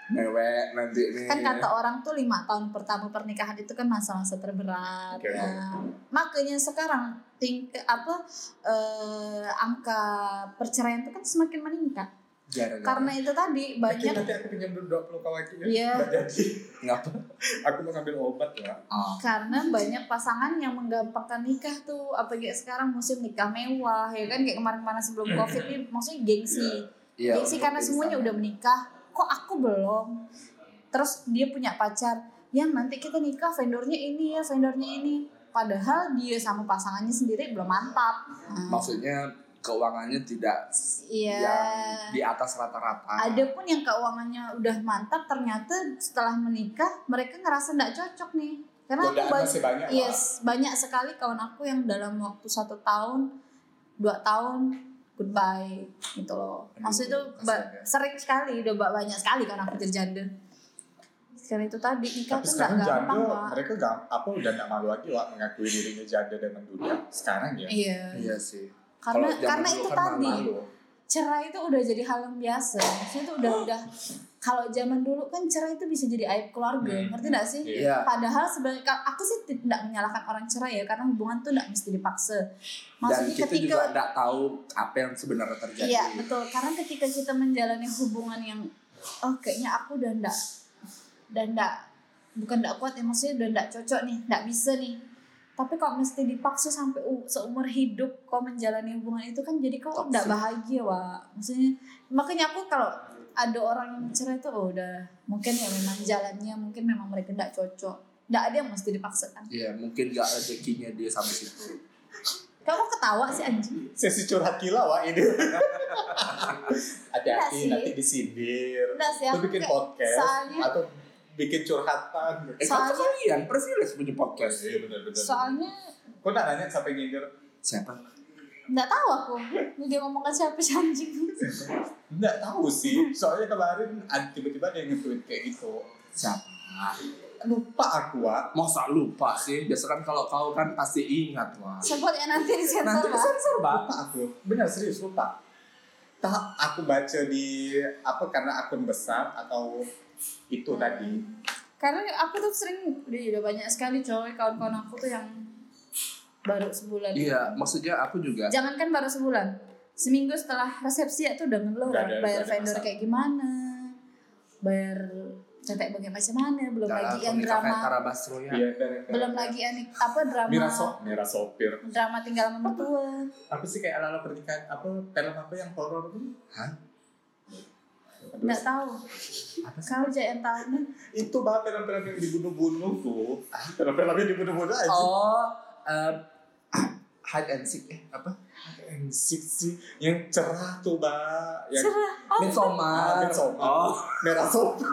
B: Mewek nanti nih.
C: kan kata orang tuh lima tahun pertama pernikahan itu kan masa-masa terberat
A: Oke.
C: Nah, makanya sekarang ting apa eh, angka perceraian itu kan semakin meningkat
B: Gara-gara.
C: karena itu
D: Mungkin
C: tadi banyak
D: nanti aku pinjam dulu 20 kawaki ya.
C: Iya.
D: Nggak jadi.
B: Ngapa?
D: Aku mau ngambil obat ya.
B: Ah.
C: Oh. karena banyak pasangan yang menggampangkan nikah tuh apa kayak sekarang musim nikah mewah ya kan kayak kemarin-kemarin sebelum covid nih maksudnya gengsi
B: Iya.
C: gengsi
B: untuk
C: karena semuanya
B: insan.
C: udah menikah kok aku belum terus dia punya pacar ya nanti kita nikah vendornya ini ya vendornya ini padahal dia sama pasangannya sendiri belum mantap Nah,
B: Maksudnya keuangannya tidak s-
C: iya
B: yang di atas rata-rata.
C: ada pun yang keuangannya udah mantap ternyata setelah menikah mereka ngerasa nggak cocok nih karena aku
A: godaan
C: banyak Iya
A: masih banyak Wak.
C: yes banyak sekali kawan aku yang dalam waktu satu tahun dua tahun goodbye gitu loh maksudnya itu
B: Aduh,
C: ba-
B: kasihan ya.
C: sering sekali udah ba- banyak sekali kan aku jadi janda sekarang itu tadi
A: tapi
C: nikah tuh nggak
A: sekarang janda
C: gampang Wak.
A: mereka gak, apa udah gak malu lagi lah mengakui dirinya janda dengan duda sekarang ya
C: iya
B: Iya sih.
C: karena
B: Kalau zaman
C: karena
B: dulu
C: itu
B: kan
C: tadi
B: malu.
C: cerai itu udah jadi hal yang biasa maksudnya itu udah udah kalau zaman dulu kan cerai itu bisa jadi aib keluarga
A: Hmm.
C: ngerti gak sih
A: Iya.
B: Iya.
C: Padahal sebenarnya ka- aku sih tidak menyalahkan orang cerai ya karena hubungan tuh tidak mesti dipaksa.
B: Dan
C: Maksudnya
B: kita
C: ketika
B: juga nggak tahu apa yang sebenarnya terjadi.
C: Iya betul karena ketika kita menjalani hubungan yang oh kayaknya aku udah ndak dan ndak bukan ndak kuat ya maksudnya udah ndak cocok nih ndak bisa nih tapi kalau mesti dipaksa sampai u- seumur hidup kau menjalani hubungan itu kan jadi kau
B: Toxic.
C: ndak bahagia wa maksudnya makanya aku kalau ada orang yang cerai tuh oh, udah mungkin ya memang jalannya mungkin memang mereka ndak cocok ndak ada yang mesti dipaksakan
B: Iya, mungkin nggak rezekinya dia sampai situ.
C: kau kok ketawa sih anjing
A: sesi curhat gila wah ini
C: Nggak Iya sih.
A: hati-hati nanti disindir
C: udah sih
A: Lu
C: aku
A: bikin
C: kayak-
A: podcast
C: soalnya
A: atau bikin curhatan
B: Eh, kan
C: Soalnya-
B: kalian privilege punya podcast.
A: Iya benar-benar.
C: soalnya
A: Kok nggak nanya sampai nyindir?
B: Siapa?
C: Nggak tahu aku. Ini Dia ngomong ke siapa sih anjing.
A: Nggak tahu sih. Soalnya kemarin ad- tiba-tiba ada yang nge-tweet kayak gitu.
B: Siapa?
A: Lupa aku, Wak.
B: Masa lupa sih? Biasa kan kalau kau kan pasti ingat lah.
C: Sebut ya nanti di
B: Nanti
C: sensor Pak.
B: sensor bang.
A: Lupa aku. Benar serius lupa. Tak aku baca di apa karena akun besar atau itu tadi.
C: Karena aku tuh sering udah, udah banyak sekali coy kawan-kawan aku tuh yang baru sebulan.
B: Iya, maksudnya aku juga.
C: Jangankan baru sebulan. Seminggu setelah resepsi ya tuh udah ngeluh
A: Nggak ada- nggak
C: bayar
A: ada
C: vendor
A: masalah.
C: kayak gimana. Bayar cetek bagian macam mana, belum lagi yang drama.
B: Tara Basro ya.
A: Iya, dari-
C: Belum lagi yang apa drama.
A: Mira, so Mira sopir.
C: Drama tinggal sama mertua.
A: Apa sih kayak ala-ala pernikahan apa film apa yang horor tuh?
B: Hah?
A: Aduh,
C: Enggak tahu. Kau jangan tahu.
A: Ya.
C: Nen.
A: itu bah film-film yang dibunuh-bunuh tuh. Ah, Film-film yang dibunuh-bunuh aja.
B: Oh, em, hide and seek eh apa?
A: Sik sih yang cerah tuh mbak yang
C: Cerah. Oh,
A: Ah,
B: Midsommar.
A: Midsommar.
B: Oh,
A: merah sopir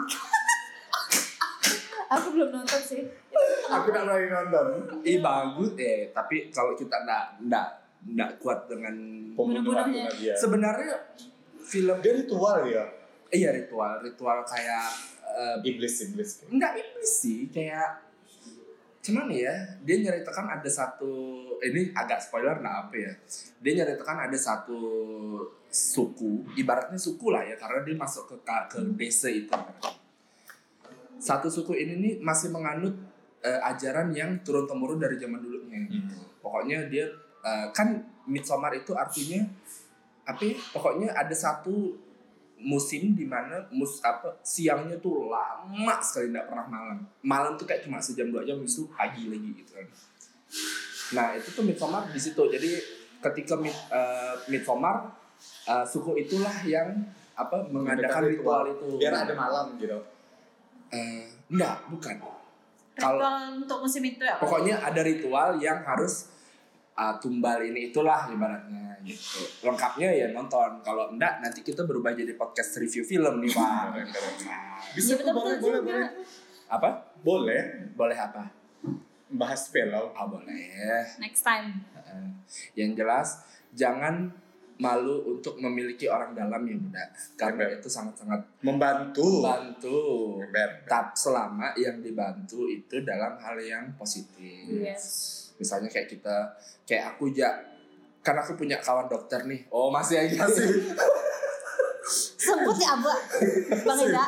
C: aku belum nonton sih.
A: aku udah lagi nonton
B: ih bagus eh tapi kalau kita ndak ndak ndak kuat dengan
A: Pembunuhan
C: Bunuh-bunuhnya.
A: tuh, dia
B: sebenarnya film
A: dia ritual ya
B: iya ritual ritual kayak eh,
A: iblis iblis kayak.
B: nggak iblis sih kayak cuman ya dia nyeritakan ada satu ini agak spoiler nah apa ya dia nyeritakan ada satu suku ibaratnya suku lah ya karena dia masuk ke ka- ke desa itu satu suku ini nih masih menganut eh, ajaran yang turun temurun dari zaman dulunya
A: Hmm.
B: pokoknya dia eh, kan midsummer itu artinya apa ya? pokoknya ada satu musim di mana mus apa siangnya tuh lama sekali nggak pernah malam malam tuh kayak cuma sejam dua jam habis itu pagi lagi gitu kan nah itu tuh midsummer di situ jadi ketika mid eh, midsummer eh, suku itulah yang apa mengadakan ritual,
A: Mengadakan
B: itu
A: biar ada malam gitu
B: Eh, enggak bukan kalau
C: Ritual untuk musim itu ya.
B: pokoknya ada ritual yang harus uh, tumbal ini itulah ibaratnya gitu lengkapnya ya nonton kalau enggak nanti kita berubah jadi podcast review film nih pak
A: bisa tuh boleh boleh boleh
B: apa
A: boleh
B: boleh apa
A: bahas film
B: ah boleh
C: Next time.
B: Heeh. yang jelas jangan malu untuk memiliki orang dalam yang muda karena itu sangat-sangat
A: membantu
B: bantu
A: Ber-
B: tetap selama yang dibantu itu dalam hal yang positif
C: Yes.
B: misalnya kayak kita kayak aku ya karena aku punya kawan dokter nih oh masih aja sih
C: Sebut ya Abu. Bang Ida.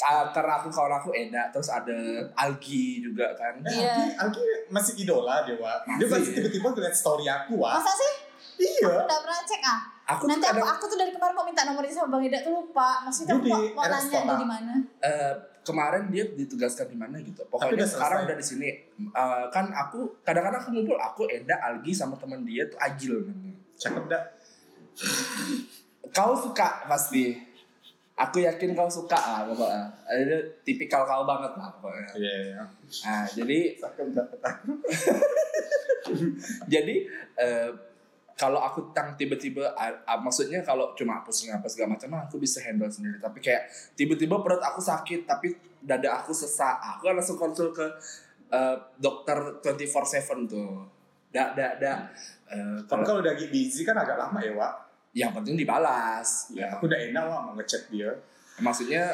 B: Ah, karena aku kawan aku Eda terus ada Algi juga kan
C: Iya.
A: Alki masih idola dia Wak. Dia
B: Masih.
A: pasti tiba-tiba ngeliat story aku Wak.
C: Masa sih?
A: Iya.
C: Udah pernah cek ah?
B: aku
C: Nanti
B: tuh
C: aku,
B: kadang
C: aku tuh dari kemarin kok minta nomornya sama Bang Ida tuh lupa. Maksudnya
A: Dia
C: aku mau,
A: di
C: mau
A: RS
C: nanya dia
A: Kota.
C: di mana.
B: eh, kemarin dia ditugaskan di mana gitu pokoknya
A: udah selesai.
B: sekarang udah di sini Eh, kan aku kadang-kadang aku ngumpul aku Eda Algi sama teman dia tuh Agil namanya
A: Cakep dah.
B: kau suka pasti aku yakin kau suka lah pokoknya ada tipikal kau banget lah pokoknya
A: Iya. iya.
B: nah jadi
A: Cakep dah.
B: jadi eh, kalau aku tang tiba-tiba ah, ah, maksudnya kalau cuma pusing apa segala macam aku bisa handle sendiri tapi kayak tiba-tiba perut aku sakit tapi dada aku sesak aku langsung konsul ke eh, dokter 24/7 tuh da da da Eh,
A: Tapi
B: kalau
A: kalau udah busy kan agak lama ya Wak.
B: yang penting dibalas ya.
A: Aku udah enak Wak mau ngechat dia.
B: maksudnya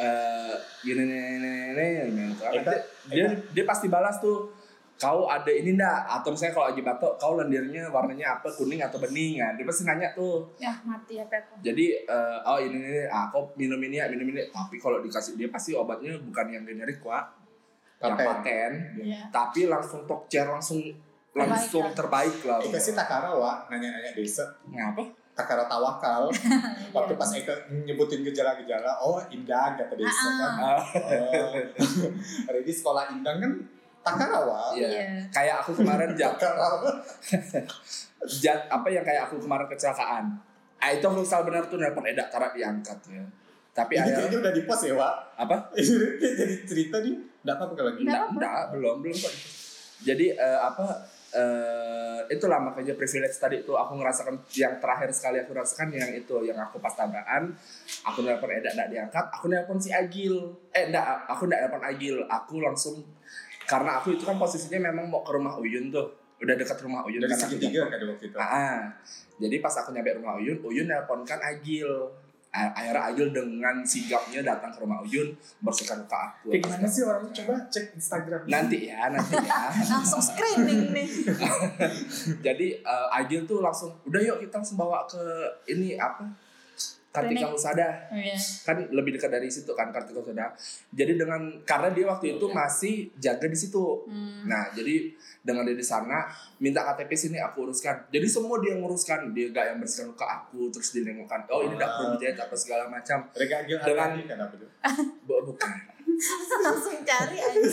B: eh gini gini gini gini, gini, gitu.
A: Eka,
B: Nanti dia dia pasti balas tuh kau ada ini ndak atau misalnya kalau lagi batuk kau lendirnya warnanya apa kuning atau bening kan dia pasti nanya tuh
C: Ya mati HP aku.
B: jadi eh, oh ini ini ah, kau minum ini ya minum ini tapi kalau dikasih dia pasti obatnya bukan yang generik wak yang
A: Paten.
B: paten
C: Iya.
B: tapi langsung talk chair langsung langsung terbaik lah Nah,
A: Eka sih Takara Wak nanya-nanya desa.
B: ngapa
A: Takara tawakal. Waktu
C: Iya.
A: pas Eka nyebutin gejala-gejala, oh indang kata desa kan.
B: Ah.
A: Oh. Hari ini sekolah indang kan Takara Wak.
B: Iya.
C: Iya.
B: kayak aku kemarin jam
A: Takara.
B: jat apa yang kayak aku kemarin kecelakaan ah itu aku salah benar tuh nelpon Eda karena diangkat ya tapi
A: Ini
B: akhirnya
A: kayaknya udah di post ya Wak.
B: apa
A: Ini jadi cerita nih. Nggak apa-apa gitu. lagi.
C: Nggak
B: enggak
C: apa-apa.
B: enggak belum belum kok jadi eh, apa eh itulah makanya privilege tadi tuh aku ngerasakan yang terakhir sekali aku rasakan yang itu yang aku pas tabrakan aku nelpon Eda enggak diangkat aku nelpon si Agil eh enggak aku enggak nelpon Agil aku langsung karena aku itu kan posisinya memang mau ke rumah Uyun tuh udah dekat rumah Uyun
A: Dari
B: kan aku
A: segitiga kan ada waktu itu.
B: Ah, jadi pas aku nyampe rumah Uyun, Uyun nelpon kan Agil. A- Akhirnya Agil dengan sigapnya datang ke rumah Uyun, bersihkan ke aku.
A: Kayak gimana sih orangnya coba cek Instagram.
B: Nanti ya, nanti ya.
C: Langsung screening nih.
B: jadi eh, Agil tuh langsung, udah yuk kita langsung bawa ke ini apa? Kartika
C: Klinik.
B: Husada
C: Iya.
B: kan lebih dekat dari situ kan Kartika Husada. Jadi dengan karena dia waktu
C: Iya.
B: itu masih jaga di situ.
C: Hmm.
B: Nah, jadi dengan dia di sana minta KTP sini aku uruskan. Jadi semua dia nguruskan, dia gak yang bersihkan luka aku, terus dia nengokan, oh ini gak perlu dijahit apa segala macam.
A: Mereka agil
B: Dengan-
A: kan apa tuh?
B: Bu- Bukan.
C: Langsung cari aja.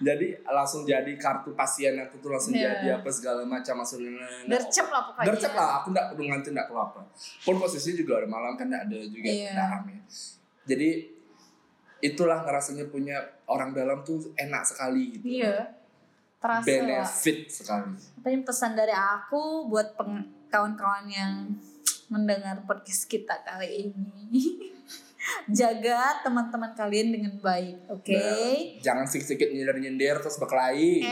B: Jadi langsung jadi kartu pasien aku tuh langsung
C: Iya.
B: jadi apa segala macam maksudnya.
C: Gercep lah pokoknya.
B: Gercep lah, aku gak perlu ngantin, gak perlu apa. Pun posisinya juga ada malam kan gak ada juga
C: Iya.
B: gak rame. Jadi itulah ngerasanya punya orang dalam tuh enak sekali gitu.
C: Iya. Terasa. lah.
B: Benefit sekali.
C: Tapi pesan dari aku buat peng- kawan-kawan yang mendengar podcast kita kali ini. Jaga teman-teman kalian dengan baik, oke?
B: Nah,
C: Eh,
B: Jangan sikit-sikit nyindir-nyindir terus berkelahi.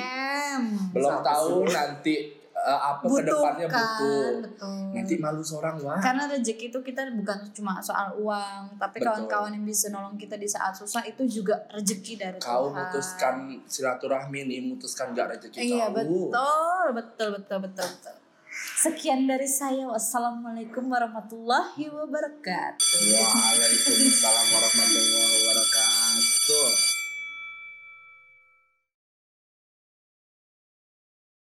C: M.
B: Belum
A: Sampai
B: tahu nanti eh, apa
C: butuh
B: kedepannya
C: kan,
B: butuh
C: betul.
B: nanti malu seorang wah
C: karena rezeki itu kita bukan cuma soal uang, tapi
B: Betul.
C: kawan-kawan yang bisa nolong kita di saat susah itu juga rezeki dari
B: kau
C: Tuhan.
B: mutuskan silaturahmi nih mutuskan gak rezeki
C: Iya
B: kau
C: betul, betul, betul, betul, betul. Sekian dari saya.
B: Iya.
C: Wassalamualaikum warahmatullahi wabarakatuh.
B: Waalaikumsalam warahmatullahi